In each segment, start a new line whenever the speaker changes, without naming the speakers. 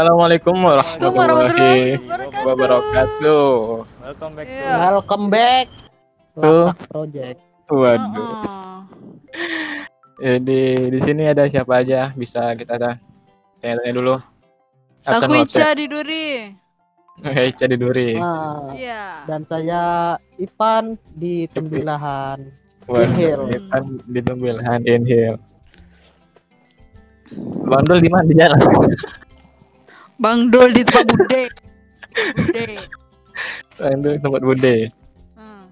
Assalamualaikum
Assalamualaikum warahmatullahi
warahmatullahi
wabarakatuh.
wabarakatuh.
Welcome back
Iya.
to
Welcome back.
Tuh.
Lasak Project.
Waduh.
Heeh.
Jadi Eh, di sini ada siapa aja bisa kita ada tanya-tanya dulu.
Aku
absen.
Ica di Duri.
Oke, Ica di Duri.
Nah,
Iya.
dan saya Ipan di pembilahan.
Waduh,
Inhale.
Ipan di Tumbilhan Inhale. Bandul di mana di jalan?
Bang Dol di tempat Bude. Bude.
Bandul tempat Bude.
Hmm.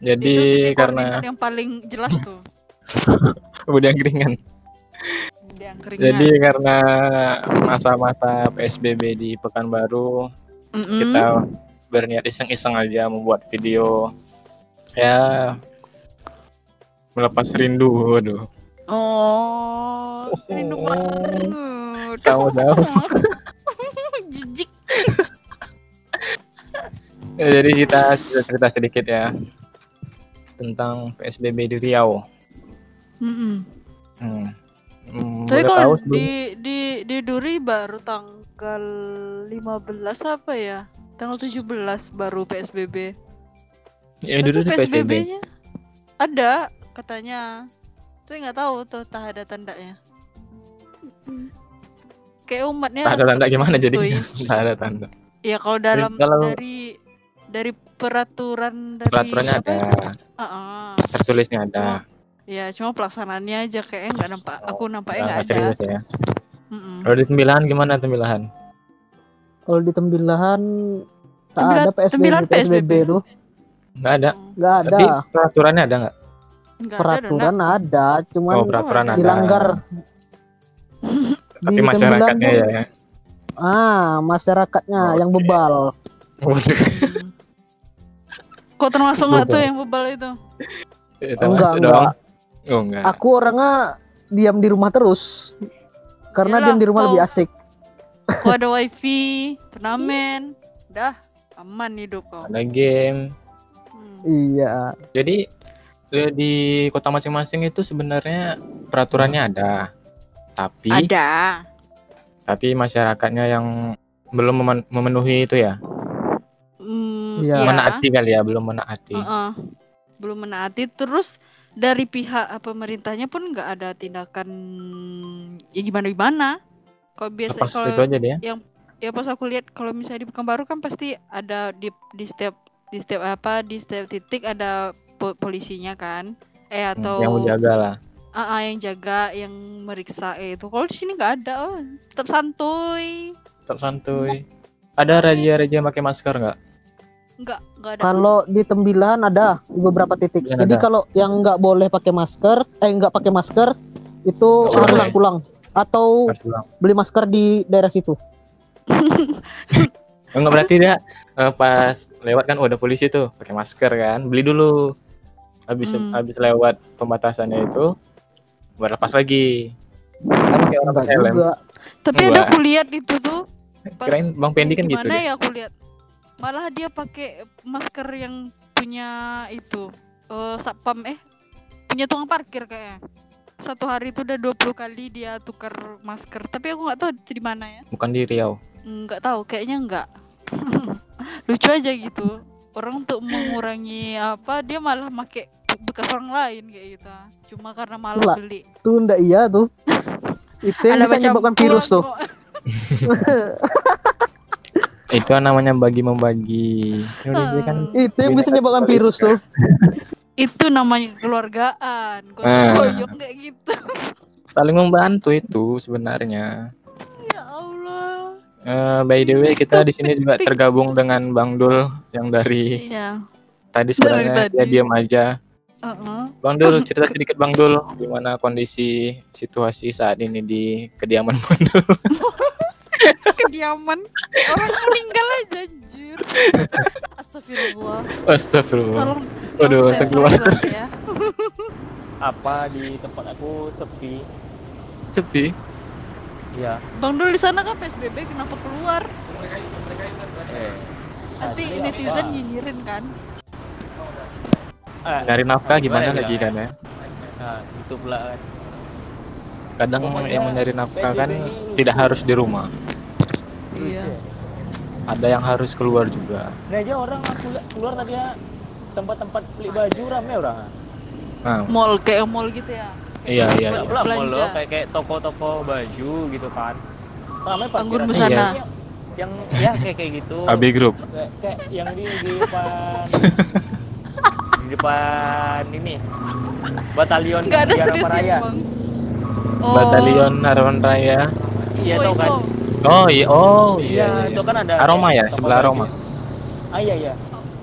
Jadi
Itu titik
karena
koordinat yang paling jelas tuh.
Bude yang keringan.
Bude yang keringan.
Jadi karena masa-masa PSBB di Pekanbaru
Mm-mm.
kita berniat iseng-iseng aja membuat video ya melepas rindu waduh
Oh,
Oh.
rindu banget.
Sama jauh.
Jijik.
Ya, jadi kita cerita, cerita sedikit ya tentang PSBB di Riau
Mm-mm.
hmm. Hmm,
Tapi
boleh tahu
kalau
sebelum-
di di di Duri baru tanggal 15 apa ya? Tanggal 17 baru PSBB.
ya, dulu di PSBB
PSBB-nya ada katanya. Tapi nggak tahu tuh tak ada tandanya. Kayak umatnya
tak ada
tetap
tanda gimana jadi
santuy.
tak ada tanda
Ya kalau dalam
kalau-
dari dari peraturan dari
peraturannya
apa
ada
ya? Ah, ah.
tertulisnya ada
Ya cuma pelaksanaannya aja kayaknya nggak nampak. Aku nampaknya nggak
Nah,
ada.
serius ya
Mm-mm.
kalau di tembilahan gimana tembilahan
Kalau di tembilahan tak
Tembilan-
ada PSBB,
tembilan
PSBB
PSBB.
tuh.
nggak ada
Nggak ada.
tapi peraturannya ada nggak
Nggak ada,
peraturan ada, cuman
oh peraturan
ada.
ada
dilanggar.
tapi
Di
masyarakatnya
tembilan
ya,
tuh-
ya.
Ah, masyarakatnya
Oke.
yang bebal.
Waduh,
Hmm. Kok termasuk nggak
Bebal.
tuh yang bebal itu?
ya,
enggak,
termasuk dong.
enggak.
Oh, enggak.
Aku orangnya diam di rumah terus. Karena
Yalah,
diam di rumah
kau-
lebih asik.
Kok ada wifi, turnamen, dah aman hidup kau.
ada game.
Hmm.
Iya.
Jadi eh, di kota masing-masing itu sebenarnya peraturannya ada, tapi
Ada.
tapi masyarakatnya yang belum memen- memenuhi itu ya,
Hmm,
Iya.
iya. Oh,
menaati kali ya, belum menaati.
Heeh. Belum menaati terus dari pihak eh, pemerintahnya pun nggak ada tindakan ya gimana gimana. Kalau biasa
Lepas
kalau
itu aja dia.
ya pas aku lihat kalau misalnya di Pekanbaru kan pasti ada di di setiap di setiap apa di setiap titik ada po- polisinya kan eh
Hmm,
atau
yang menjaga lah.
Ah, ah, yang jaga yang meriksa eh, itu kalau di sini nggak ada oh, tetap santuy
Tetap santuy. Ada raja-raja pakai masker nggak?
nggak nggak ada
Kalau di tembilahan ada di beberapa titik.
Tembilahan
Jadi
Iya, ada.
kalau yang nggak boleh pakai masker, eh nggak pakai masker itu
Nggak
harus
boleh.
pulang
Oh.
atau
Harus bilang.
beli masker di daerah situ.
Enggak berarti dia eh, pas lewat kan oh, ada polisi tuh pakai masker kan, beli dulu. Habis
Hmm.
habis lewat pembatasannya itu baru lepas lagi. Sama kayak orang
Enggak
pakai helm.
juga.
tapi ada
Wah.
aku lihat itu tuh pas
Kirain Bang Pendi kan gitu
gimana
deh.
ya aku lihat malah dia pakai masker yang punya itu eh satpam eh punya tukang parkir kayaknya satu hari itu udah 20 kali dia tukar masker tapi aku nggak tahu di mana ya
Bukan di Riau.
nggak tahu kayaknya nggak lucu aja gitu orang untuk mengurangi apa dia malah make bekas orang lain kayak gitu cuma karena malas
Lah,
beli
Itu ndak iya tuh. Itu yang
Ala macam
bisa menyebabkan virus tuh.
buang kok.
Itu namanya bagi membagi. Ya udah, dia kan
Itu yang
Binatang
bisa menyebabkan
politika.
virus tuh.
itu namanya kekeluargaan
Ah.
gotong royong kayak gitu
saling membantu itu sebenarnya.
ya Allah
Eh, by the way kita di sini juga
Stupid.
tergabung dengan Bang Dul yang dari
iya
tadi sebenarnya
tadi.
dia diam aja.
Heeh.
Bang Dul cerita sedikit Bang Dul gimana kondisi situasi saat ini di kediaman Bang Dul.
kediaman orang meninggal aja anjir astagfirullah
Astagfirullah.
tolong
Waduh,
tolong
astagfirullah.
sensor ya
apa di tempat aku sepi.
Sepi.
Iya.
bang dul di sana kan psbb kenapa keluar
Eh.
nanti
Aduh,
netizen
apa?
nyinyirin kan
Eh,
Cari nafkah gimana
Gimana
lagi
ya?
kan ya?
nah, itu pula kan.
Kadang yang mencari nafkah kan tidak harus di rumah.
Iya.
Buset.
ada yang harus keluar juga
Nah aja orang keluar, keluar tadi ya tempat-tempat beli baju rame orang.
nah
Mall kayak mall gitu ya.
Iya, iya, iya.
buat
Lah mall
Belanja.
lo kayak kayak toko-toko baju gitu kan. Rame
Anggur
parkiran.
Busana.
Iya.
Yang, yang ya kayak kayak gitu.
AB Group
Kayak, kayak yang di di depan di depan ini batalion
Enggak ada
Jalan
serius ya,
Paraya.
Bang.
Batalion Harapan Raya
Iya
Iko,
tau kan.
Iko.
oh iya oh
Iya,
iya,
itu
iya.
kan ada
Aroma
kayak
ya,
toko
sebelah
baju.
Aroma.
Ah iya iya.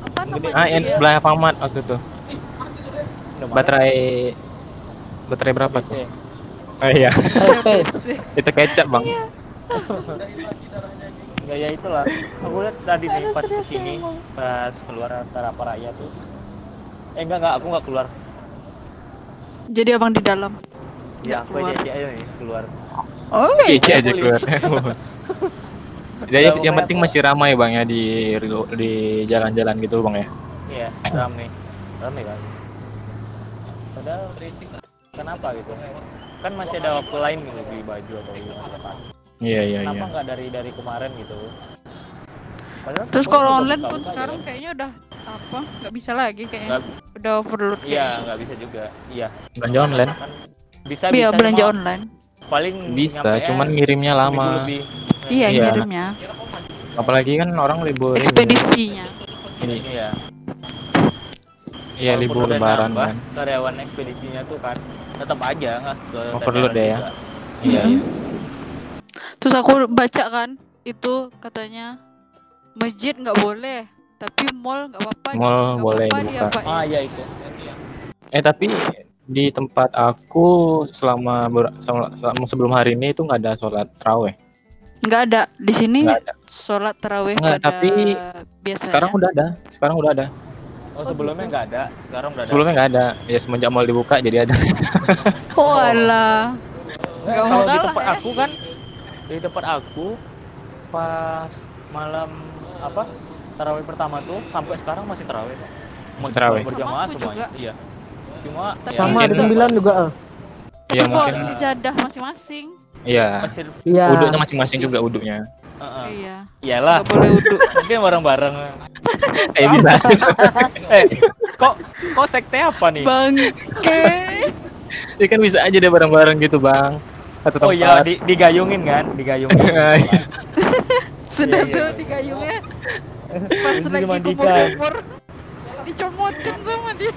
Apa namanya?
ah yang
dia?
sebelah Alfamart waktu itu
Udah Iya, mana?
baterai baterai berapa tuh
Buset.
oh iya
Repe.
itu kecap bang
Iya. Ya ya itulah. Aku lihat tadi
Nggak
nih
ada
pas
serius
kesini
emang.
pas keluar antara Paraya tuh. Eh enggak enggak aku enggak keluar.
Jadi abang di dalam.
Iya,
Ya
Nggak
aku
keluar.
aja aja nih keluar.
Oh,
Iya,
cici aja
boleh.
keluar jadi
Nggak,
yang
bukan
penting
apa.
masih ramai bang ya di di jalan-jalan gitu bang ya
Iya, rame. Rame kan. Padahal berisik. Kenapa gitu? Kan masih ada waktu lain gitu beli baju atau gimana kan.
iya iya
Kenapa
iya
enggak dari dari kemarin gitu? Padahal
Terus
toko
kalau
udah
online pun
buka-buka aja
sekarang
kan.
kayaknya udah apa? Nggak bisa lagi kayaknya.
Nggak-
Udah overload.
Iya, nggak bisa juga. Iya.
belanja online
Kan bisa
kayaknya. Iya
bisa
belanja
cuma
online.
Paling
bisa
nyampe ya
cuman ngirimnya
seminggu
lama
lebih.
Iya
Iya.
ngirimnya.
apalagi kan orang libur ini.
Ekspedisinya.
ini
Iya.
iya
Walaupun
libur
udah
lebaran
nambah,
kan
Karyawan ekspedisinya tuh kan tetap aja nggak ke
Overload
daerah
ya, ya?
juga.
iya
Mm-mm.
iya
Hmm. Terus aku baca kan itu katanya masjid nggak boleh, tapi mall nggak apa-apa.
Mall
nggak
boleh
apa-apa
dibuka.
diapain.
Ah iya itu.
Eh tapi di tempat aku selama, ber- sel- selama sebelum hari ini itu nggak ada sholat terawih.
Nggak ada di sini
Iya,
Nggak ada.
sholat tarawih
Nggak,
pada ya.
tapi
biasanya.
ya?
Sekarang udah ada. Sekarang udah ada.
Oh sebelumnya nggak ada, sekarang udah ada.
Sebelumnya nggak ada. Ya semenjak mal dibuka jadi ada.
Oh alah.
Nggak,
Nggak
Eh, kalau
mau
di
kalah
tempat
ya.
aku kan di tempat aku pas malam apa tarawih pertama tuh sampai sekarang masih tarawih Pak. Masih
tarawih.
berjamaah
Sama aku
semuanya iya cuma
Tapi
ya,
Sama
Mungkin
ada yang
nggak.
bilang juga. eh.
Tapi
Iya
kok
mungkin.
sejadah masing-masing.
Iya.
masih
Iya.
Uduknya masing-masing juga uduknya. Ah.
uh-uh.
Iya.
iyalah
Nggak boleh wudhu.
mungkin bareng-bareng
Eh bisa.
eh kok kok sekte apa
Iya.
nih
Bangke.
Ya kan bisa aja deh bareng-bareng gitu bang. Satu tempat.
oh iya di, digayungin kan digayungin
Sudah
Iya, iya,
tuh
iya.
digayungnya. Pas
Ini
lagi
dimandikan.
kumur-kumur dicomotin sama dia.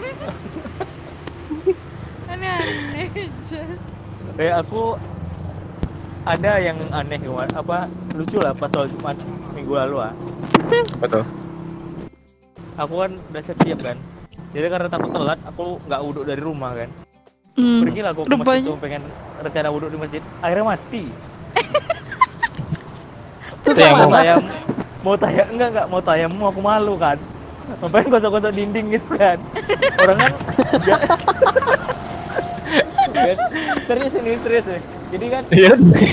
Aneh-aneh aja.
Eh aku ada yang aneh kemarin apa lucu lah pas soal Jumat minggu lalu ah.
Apa tuh?
Aku kan udah siap-siap kan. Jadi karena takut telat, aku nggak wudhu dari rumah kan.
Hmm.
Pergi lah aku ke
Udah
masjid
banyak.
tuh pengen rencana wudhu di masjid. Akhirnya mati.
Itu
Ya,
yang
mau
mau.
tayam, mau tayam enggak enggak mau tayam mau aku malu kan. Ngapain gosok-gosok dinding gitu kan. Orang kan ja- Guys, serius ini serius nih. Jadi kan
Iya.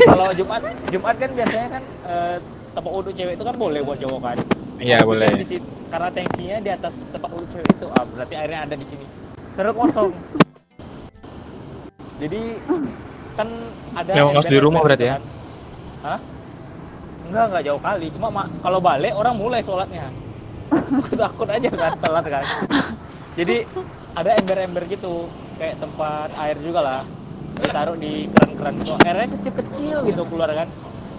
kalau Jumat Jumat kan biasanya kan eh, tempat wudhu cewek itu kan boleh buat cowok kan
Iya
Tapi
boleh.
di situ- karena tankinya di atas tempat wudhu cewek itu ah, berarti airnya ada di sini terus kosong jadi kan ada
Memang harus di
ember-ember
rumah berarti
gitu
ya?
kan. Hah? enggak enggak jauh kali cuma ma- kalau balik orang mulai sholatnya aku takut aja kan telat kan jadi ada ember-ember gitu kayak tempat air juga lah ditaruh di keran-keran gitu airnya kecil-kecil gitu keluar kan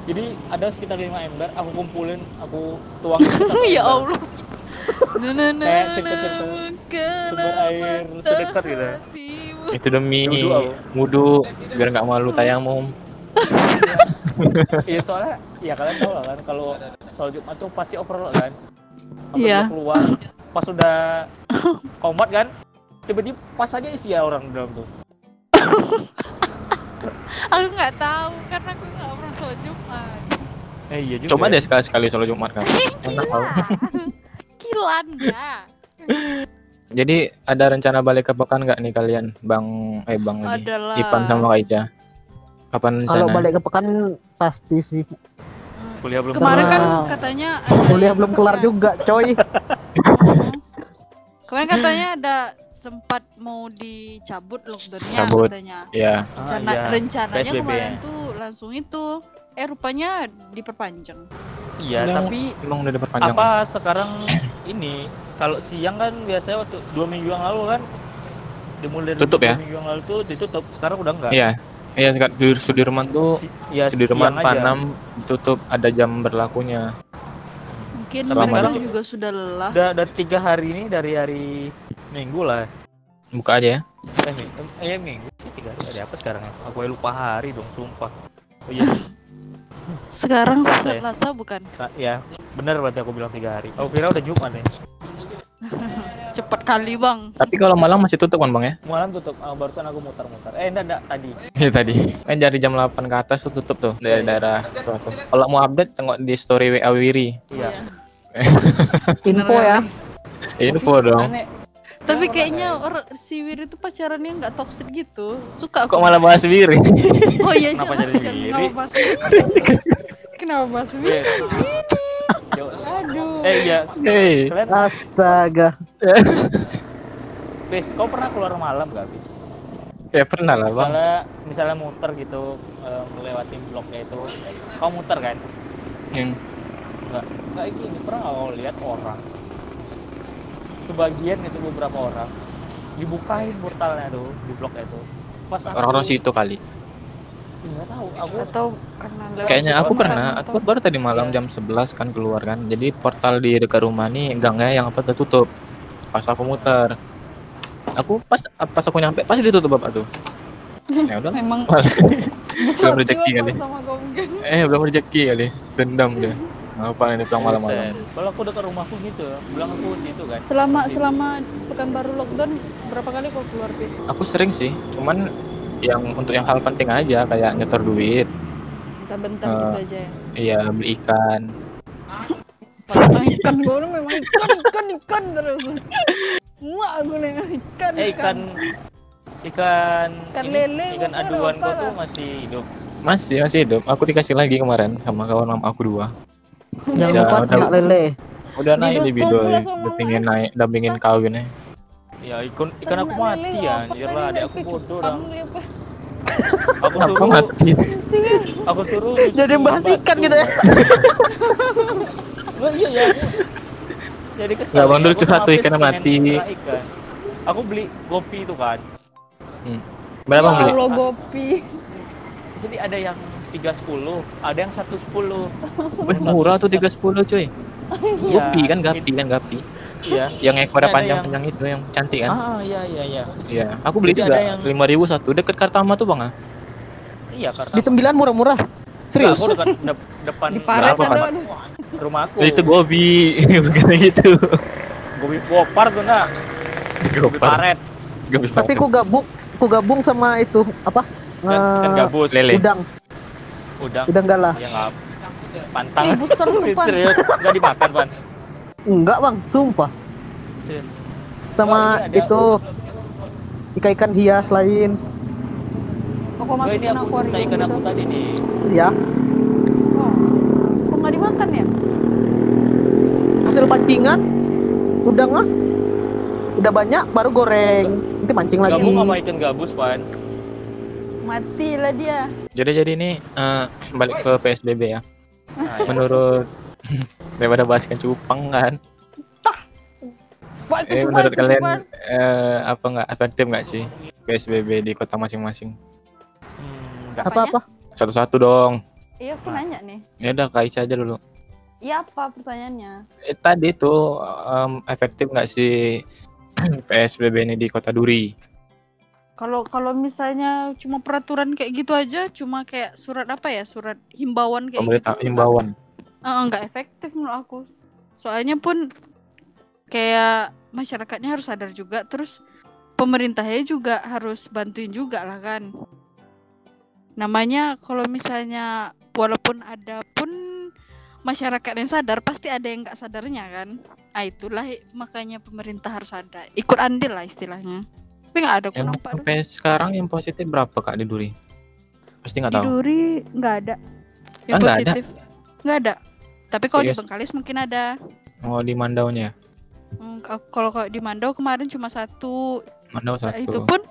jadi ada sekitar lima ember aku kumpulin aku tuang ke satu
ya
ember.
Allah. Na na na
Kayak
na
cerita-cerita
mengkena
sumber air
mata
sedekat gitu.
hatimu.
Itu demi
Wudhu aku.
wudhu biar nggak malu tayamum.
Iya soalnya ya kalian tahu lah kan kalau soal Jumat tuh pasti overload kan. Sampai
Iya.
udah keluar pas sudah komat kan tiba-tiba pas aja isi ya orang di dalam tuh.
Aku nggak tahu karena aku nggak pernah sholat Jumat.
Eh iya juga.
Coba deh sekali-sekali sholat Jumat kan. Enak kalau.
Kilan ya.
Jadi ada rencana balik ke Pekan nggak nih kalian, Bang? Eh Bang lagi.
Adalah.
Ipan sama Kak Ica. Kapan
Kalau
sana?
balik ke pekan pasti sih.
ya,
Kuliah belum
Kemarin kan
Wow.
katanya Iya.
Kuliah belum kelar juga, coy.
Kemarin katanya ada sempat mau dicabut lockdownnya
Cabut.
katanya.
Ya,
Ah,
Rencana,
iya.
Rencananya
PSBB
kemarin
ya.
tuh langsung itu eh rupanya diperpanjang
Iya,
Emang-
tapi
Emang udah diperpanjang.
apa sekarang ini kalau siang kan biasanya waktu dua minggu yang lalu kan dimulai dari
Tutup ya?
dua minggu yang lalu tuh ditutup sekarang udah enggak
Iya. Iya, sekarang di Sudirman tuh
Si- ya,
Sudirman
siang aja.
Panam ditutup ada jam berlakunya.
mungkin
Selama
mereka
itu-
juga sudah lelah
udah udah tiga hari ini dari hari minggu lah
Buka aja ya.
eh mi- eh, eh, minggu sih tiga hari ada apa sekarang ya aku aja lupa hari dong sumpah oh iya
sekarang
Selasa ya?
selasa bukan
Sa- ya benar berarti aku bilang tiga hari aku kira udah jumat ya. nih
cepat kali bang
Tapi kalau malam masih tutup kan, Bang ya?
malam tutup ah, barusan aku muter-muter eh enggak enggak tadi
Iya tadi. Kan dari jam 8 ke atas tuh tutup tuh dari daerah suatu. Kalau mau update tengok di story WA Wiri.
iya
Info ya.
Info dong.
Aneh.
Iya,
Orang
tapi kayaknya
aneh.
orang si Wir itu pacarannya nggak toxic gitu suka
Kok
aku
malah bahas Wiri?
oh iya
Kenapa
jangan
jadi
jangan
Wir?
kenapa bahas kenapa bahas Wir
Eh, jauh.
aduh
eh iya
Hei.
kalian
Astaga.
bis kau pernah keluar malam gak bis
Ya pernah lah, Bang.
misalnya misalnya muter gitu eh, melewati bloknya itu kau muter kan
Yang
nggak kayak gini pernah nggak kau lihat orang sebagian itu beberapa orang dibukain portalnya tuh di blok itu pas aku-
orang-orang situ kali.
nggak tahu aku
atau karena lewat
Kayaknya aku
depan
pernah,
atau-
aku baru tadi malam jam 11 kan keluar kan. Jadi portal di dekat rumah nih gangnya yang apa tertutup. Pas aku muter. Aku pas pas aku nyampe pasti ditutup bapak tuh. Ya udah.
memang
Belum rezeki kali.
sama kau mungkin
Eh belum rezeki kali. Dendam dia. Apa ini pulang malam-malam.
Buset. kalau aku dekat rumahku gitu bilang aku situ kan
selama selama pekanbaru lockdown berapa kali kau keluar bis
Aku sering sih, cuman yang untuk yang hal penting aja kayak nyetor duit,
bentar-bentar
Eh.
gitu aja ya
iya beli ikan.
Malah ikan gue memang ikan ikan ikan terus muak aku nih ikan
eh ikan ikan
Ikan
ini,
lele,
ikan
bukan,
aduan
apa
kau tuh
lah.
masih hidup
Masih masih hidup. Aku dikasih lagi kemarin sama kawan mama aku dua.
Jangan
Ya,
lupa
udah.
anak lele.
Udah naik
Didukung
libido
pula
ya,
sama
udah pingin naik, udah pingin kawin ya.
ya ikan ikan aku mati ya anjir lah adek aku bodoh orang. aku
Kenapa
suruh
mati?
aku suruh
Jadi bahas ikan gitu ya.
Nggak, iya ya jadi kesel
Nggak, Bang,
ya.
dulu
Aku
curhat
sama
tuh
Fis
ikan
pengen
mati.
merah ikan. aku beli kopi itu kan
Berapa
Abang
bang
Ya
beli?
Ya Allah gopi.
jadi ada yang 310 ada yang 110
Wih, murah tuh 310 cuy.
Iya,
Gopi kan gapi
itu-
kan gapi.
iya
Yang
Ada
ekornya
yang-
panjang-panjang itu yang cantik kan?
ah iya iya iya
Iya. Aku beli
Jadi
juga
ada yang-
5000 satu dekat Kartama tuh bang ah.
iya karena
Di tembilan murah-murah.
Nggak,
Serius.
aku dekat dep- depan kan?
Di paret kan?
Berapa,
ada
Pak?
aduh.
rumahku
Itu gobi bukan gitu.
gue gopar tuh nak gue
Gopar.
paret
Gobi
Tapi ku gabung, ku gabung sama itu apa?
dan ikan
Eh,
gabus
lele.
udang,
udang
udang galah.
ya nggak pantang
Eh, busur depan.
serius nggak dimakan pan
Enggak, Bang, sumpah.
serius
Sama
Oh, ini ada-
itu ikan-ikan hias lain,
Kok kau
Nggak, ini
masukin
aku
akuarium
ikan
gitu?
aku tadi nih
ya.
Oh. Kok nggak dimakan ya?
Hasil pancingan udang lah. Udah banyak baru goreng. Nanti mancing lagi.
gabung sama ikan gabus Nah, pan
Mati lah dia.
Jadi jadi ini eh, balik ke PSBB ya.
Nah, ya.
Menurut daripada bahas ikan cupang kan.
Wah,
Eh,
kecuman,
menurut kalian
kecuman.
eh, apa nggak efektif nggak sih PSBB di kota masing-masing?
Hmm, nggak.
Apa-apa?
Satu-satu dong.
Iya, aku nanya nih.
Ya udah Kak Aisyah aja dulu.
Iya apa pertanyaannya?
Eh, tadi itu em, efektif nggak sih PSBB ini di kota Duri?
Kalau kalau misalnya cuma peraturan kayak gitu aja, cuma kayak surat apa ya, surat himbauan kayak
Pemerintah
gitu.
himbauan.
Eh, nggak efektif menurut aku. Soalnya pun kayak masyarakatnya harus sadar juga, terus pemerintahnya juga harus bantuin juga lah kan. Namanya kalau misalnya walaupun ada pun masyarakat yang sadar pasti ada yang nggak sadarnya kan. Ah itulah i- makanya pemerintah harus ada ikut andil lah istilahnya. Tapi nggak ada
Yang
kurang pak.
sampai sekarang yang positif berapa Kak di Duri? Pasti nggak
Di
tahu.
Duri nggak ada.
Ah,
Yang
nggak ada?
positif nggak ada. Tapi kalau di
Serius?
Bengkalis mungkin ada.
Oh di Mandaunya.
Hmm, k- kalau kalau di Mandau kemarin cuma satu.
Mandau
Nah,
satu.
Itu pun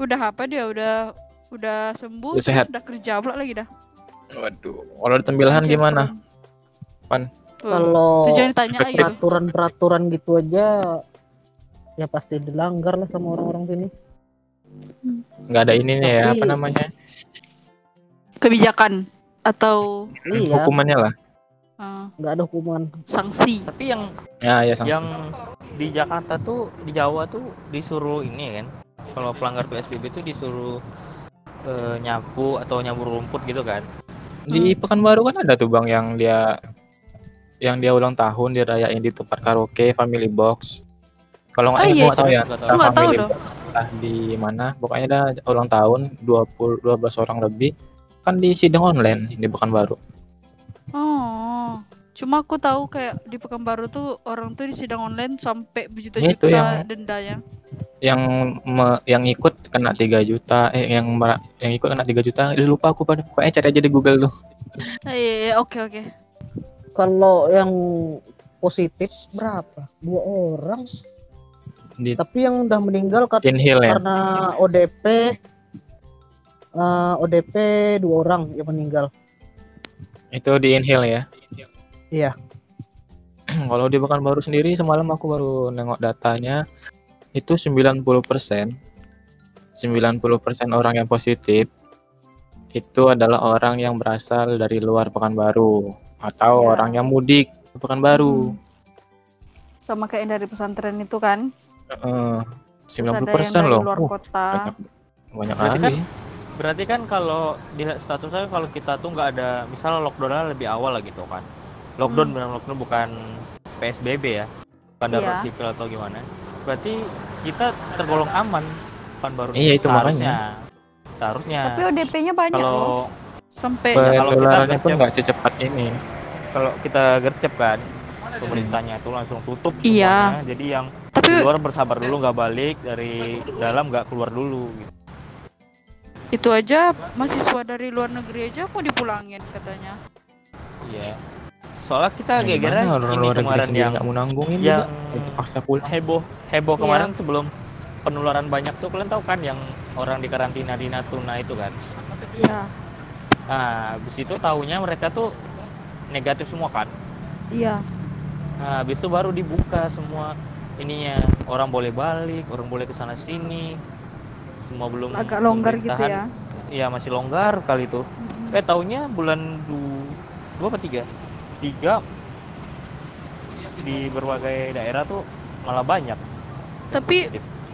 udah apa dia udah udah sembuh
Udah
terus
sehat.
udah kerja pula lagi dah.
Waduh, kalau ada tembilahan gimana? Pan?
Kalau
Kalau
Oh. Hmm. itu jangan ditanya ayo.
peraturan-peraturan gitu aja ya pasti dilanggar lah sama orang-orang sini.
Nggak ada ininya ya, apa
Tapi-
Iya.
namanya?
Kebijakan atau
Iya,
Hukumannya lah.
eh,
nggak ada hukuman.
sanksi.
Tapi yang
Ya, ya sanksi.
yang di Jakarta tuh di Jawa tuh disuruh ini kan. Kalau pelanggar PSBB tuh disuruh eh, nyapu atau nyabu rumput gitu kan.
Hmm.
Di Pekanbaru kan ada tuh Bang yang dia yang dia ulang tahun dirayain di tempat karaoke Family Box. Kalau nggak
Oh,
ingat
iya,
gua nggak tahu ya.
Nggak tahu.
entah
Nggak tahu
Family
dong.
Box, entah di mana. Pokoknya ada ulang tahun 20 12 orang lebih kan di sidang online di Pekanbaru.
Oh. Cuma aku tahu kayak di Pekanbaru tuh orang tuh di sidang online sampai
Itu
berjuta-juta
yang-
dendanya.
Yang me- yang ikut kena 3 juta, eh yang mera- yang ikut kena 3 juta. Udah lupa aku pada pokoknya cari aja di Google tuh.
Ah, Iya, iya, oke oke.
Kalau yang positif berapa? Dua orang.
Di
Tapi yang udah meninggal kat-
Inhale ya.
karena ODP eh, ODP dua orang yang meninggal.
Itu di Inhale ya.
Iya.
Kalau di Pekanbaru sendiri semalam aku baru nengok datanya itu 90%. 90% orang yang positif itu adalah orang yang berasal dari luar Pekanbaru atau
Iya.
Ya.
orang yang mudik ke Pekanbaru.
Sama kayak yang dari pesantren itu kan.
Heeh.
Hmm.
Terus ada
90%
yang dari
loh.
Luar
Uh,
kota.
banyak banyak
Berarti
kali.
kan- Berarti kan kalau dilihat statusnya kalau kita tuh nggak ada misalnya lockdownnya lebih awal lah gitu kan. Lockdown
Hmm.
benar lockdown bukan PSBB ya. Bukan
Iya.
darurat sipil atau gimana. Berarti kita tergolong aman kan baru.
Iya, itu
Seharusnya. Seharusnya.
Tapi ODP-nya banyak
Kalau
loh. Sampai
Nah, kalau kita
Penularannya pun
gercep-
nggak secepat ini.
kalau kita gercep kan pemerintahnya tuh langsung tutup
Iya.
semuanya. Jadi yang
tapi
di luar bersabar dulu nggak balik dari dalam nggak keluar dulu gitu.
itu aja mahasiswa dari luar negeri aja mau dipulangin katanya.
Iya. Soalnya kita
Nah,
gegeran
gimana orang
ini
luar negeri
kemarin
sendiri
yang
nggak mau nanggungin
yang
juga. Paksa pulang.
heboh heboh
Iya.
kemarin sebelum penularan banyak tuh kalian tahu kan yang orang di karantina di Natuna itu kan
Iya.
nah habis itu tahunya mereka tuh negatif semua kan
Iya.
nah habis itu baru dibuka semua ininya orang boleh balik orang boleh ke sana sini semua belum
Agak longgar gitu
pemerintahan.
ya.
iya masih longgar kali tuh eh tahunya bulan du- dua apa tiga tiga di berbagai daerah tuh malah banyak
Tapi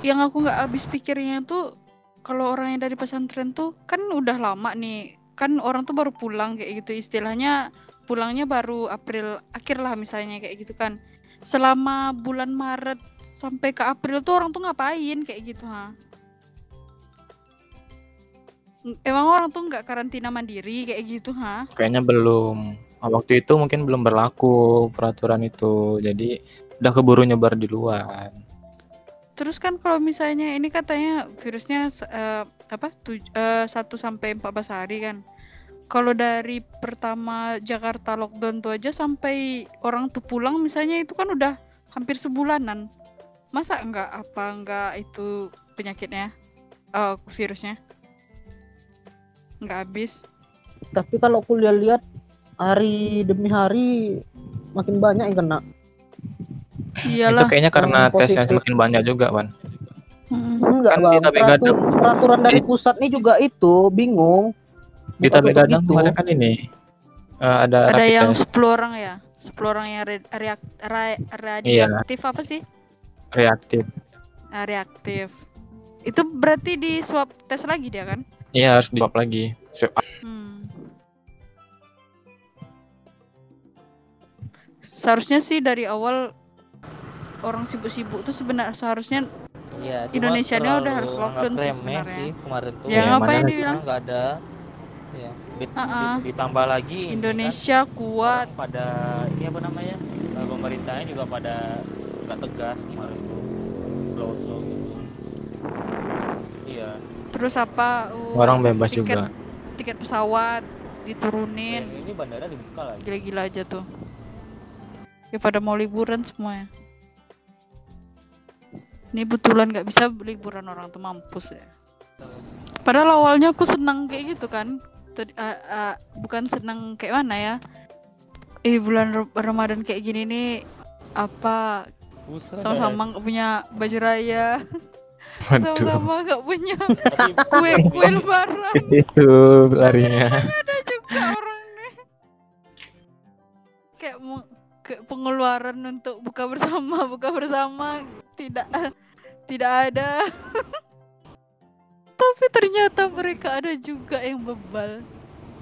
yang aku nggak habis pikirnya tuh kalau orang yang dari pesantren tuh kan udah lama nih kan orang tuh baru pulang kayak gitu istilahnya pulangnya baru April akhir lah misalnya kayak gitu kan selama bulan Maret sampai ke April tuh orang tuh ngapain kayak gitu ha emang orang tuh nggak karantina mandiri kayak gitu ha
Kayaknya belum. Nah, Waktu itu mungkin belum berlaku peraturan itu. Jadi udah keburu nyebar di luar.
Terus kan kalau misalnya ini katanya virusnya s- eh, apa tuj- eh, 1 sampai 14 hari kan. Kalau dari pertama Jakarta lockdown tuh aja sampai orang tuh pulang misalnya itu kan udah hampir sebulanan. Masa enggak apa enggak itu penyakitnya eh virusnya? Enggak habis.
Tapi kalau kuliah lihat hari demi hari makin banyak yang kena.
Itu
Iyalah.
kayaknya karena
yang positif.
tesnya semakin banyak juga, Wan.
Mm-mm.
Enggak,
Kan
Bang.
kita Beg
Peratu-
Gadang.
peraturan dari pusat nih juga itu bingung.
Di
Bukan
Tabe
untuk
Gadang
itu.
kemarin kan ini eh, ada
Ada
rapid
yang
test.
10 orang ya. 10 orang yang re- reak- ra-
Iya.
radioaktif apa sih?
reaktif.
Nah, reaktif. Itu berarti di swab tes lagi dia kan?
Iya harus di swab lagi. Swab up.
Hmm. Seharusnya sih dari awal orang sibuk-sibuk tuh sebenarnya seharusnya
Iya,
cuma Indonesia dia udah terlalu harus lockdown sih remeh sebenarnya. sih
kemarin tuh.
Iya,
ya
yang
ngapain
mana lagi?
dibilang
nggak ada. Ya, di-
Ah,
di-
ah.
ditambah lagi ini
Indonesia kuat.
kan, pada ini apa namanya? eh, Pemerintahnya juga pada nggak tegas kemarin tuh. Slow slow gitu. Iya.
Terus apa? uh,
Orang bebas
tiket,
juga.
Tiket pesawat
Ya,
diturunin.
ini bandara dibuka lagi.
Gila-gila aja tuh. Ya pada mau liburan semuanya. Ini betulan nggak bisa liburan orang tuh mampus ya. Padahal awalnya aku senang kayak gitu kan. atau a- a- bukan senang kayak mana ya eh bulan Ro- Ramadan kayak gini nih apa
Buset.
sama-sama nggak punya baju raya
Waduh,
sama-sama nggak punya
Tapi
kue kue lebaran
itu larinya.
ada juga orang nih kayak mau kayak pengeluaran untuk buka bersama buka bersama tidak tidak ada tapi ternyata mereka ada juga yang bebal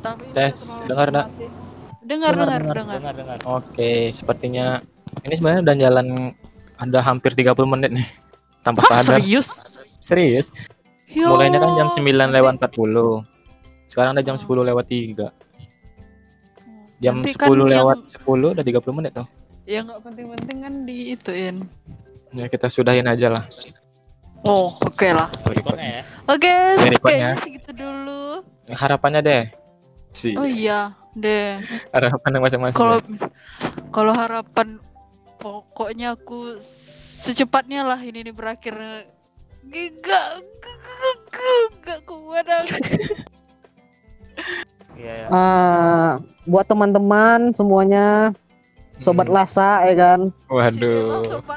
tapi
Tes, dengar, Nak.
masih dengar dengar
dengar,
dengar
dengar dengar.
Oke, sepertinya ini sebenarnya udah jalan ada hampir 30 menit nih. Tanpa
Hah,
sadar.
serius
Serius?
Ya
Mulainya kan jam
Allah.
9 lewat 40. Sekarang udah jam 10 lewat 3. Jam
Hmm. Nanti
10
kan yang-
lewat 10 udah 30 menit tuh.
ya nggak penting-penting kan diituin
Ya kita sudahin aja lah.
oh oke lah
Rekornya ya.
oke
Dari depannya.
kayaknya segitu dulu
Harapannya deh. Si
oh iya deh
harapan yang macam-macam.
kalau
Iya.
kalau harapan pokoknya aku secepatnya lah ini nih berakhir gak gak kuat aku
Iya ya.
Eh, buat teman-teman semuanya sobat
Hmm.
lasa ya kan
Waduh.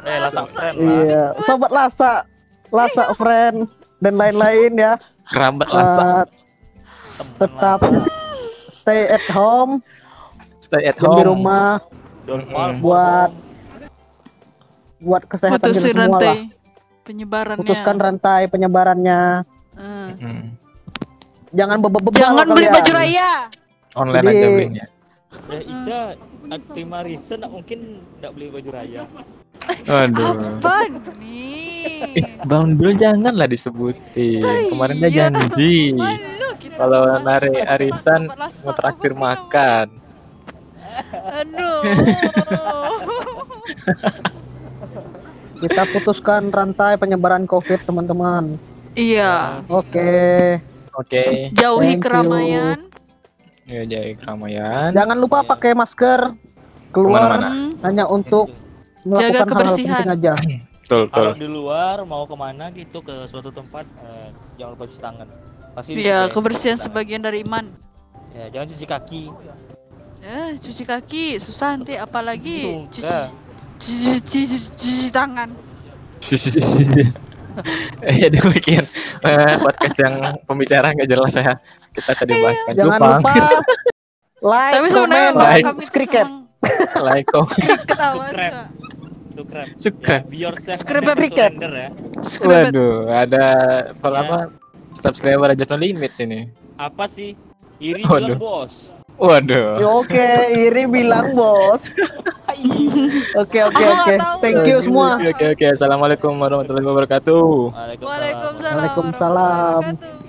Eh langsung friend lah.
iya sobat lasa
Iya,
lasa friend dan lain-lain ya
Kerabat lah.
Eh, tetap stay at home,
Stay at
diam di
home.
rumah
Dormal
Mm-mm.
Buat- buat kesehatan
putusin
kita semua lah
rantai penyebarannya
putuskan rantai penyebarannya
Eh.
Mm.
jangan bebek
jangan beli baju raya
Online
Jadi-
aja belinya.
Ya Ica Aktima Risen mungkin nggak beli baju raya.
Waduh.
apa nih
Bandul janganlah disebutin. Kemarin dia
Iya.
janji
Malu kita
kalau
dapat-
narik
dapat
arisan
lasak,
mau
apa
terakhir
sih
makan.
namanya? aduh
kita putuskan rantai penyebaran covid teman-teman
iya
oke
Oke,
jauhi
Thank you.
keramaian
ya jadi keramaian.
jangan lupa pakai masker keluar
Iya. Kemana-mana. Mana?
Hmm.
hanya untuk melakukan
kebersihan.
hal penting aja
Betul, betul.
Kalau di luar mau kemana gitu ke suatu tempat eh, jangan lupa cuci tangan. Pasti
Iya,
dicuci,
kebersihan
cuci tangan.
sebagian dari iman.
Ya, jangan cuci kaki.
Eh, cuci kaki susah nanti apalagi cuci
Suka.
cuci, cuci, cuci- cuci tangan.
ya demikian eh, podcast yang pembicaraan nggak jelas ya kita tadi kan. bahkan
Iya, jangan lupa like
Tapi sebenarnya
comment
Bang,
memang
dan
like.
kami itu
cricket
memang
like comment
cricket awan.
Subscribe. Subscribe.
subscribe
Ya, be yourself.
Subscribe
and never
paprika.
surrender ya.
Subscribe.
waduh ada kalau
Iya.
apa subscriber aja no limit sini
Apa sih? Iri
Waduh.
bilang bos.
Ya,
waduh
oke Iri bilang bos oke
Aku
oke
nggak
oke
tahu.
thank you semua
oke oke assalamualaikum warahmatullahi wabarakatuh
Waalaikumsalam.
Waalaikumsalam.
warahmatullahi wabarakatuh.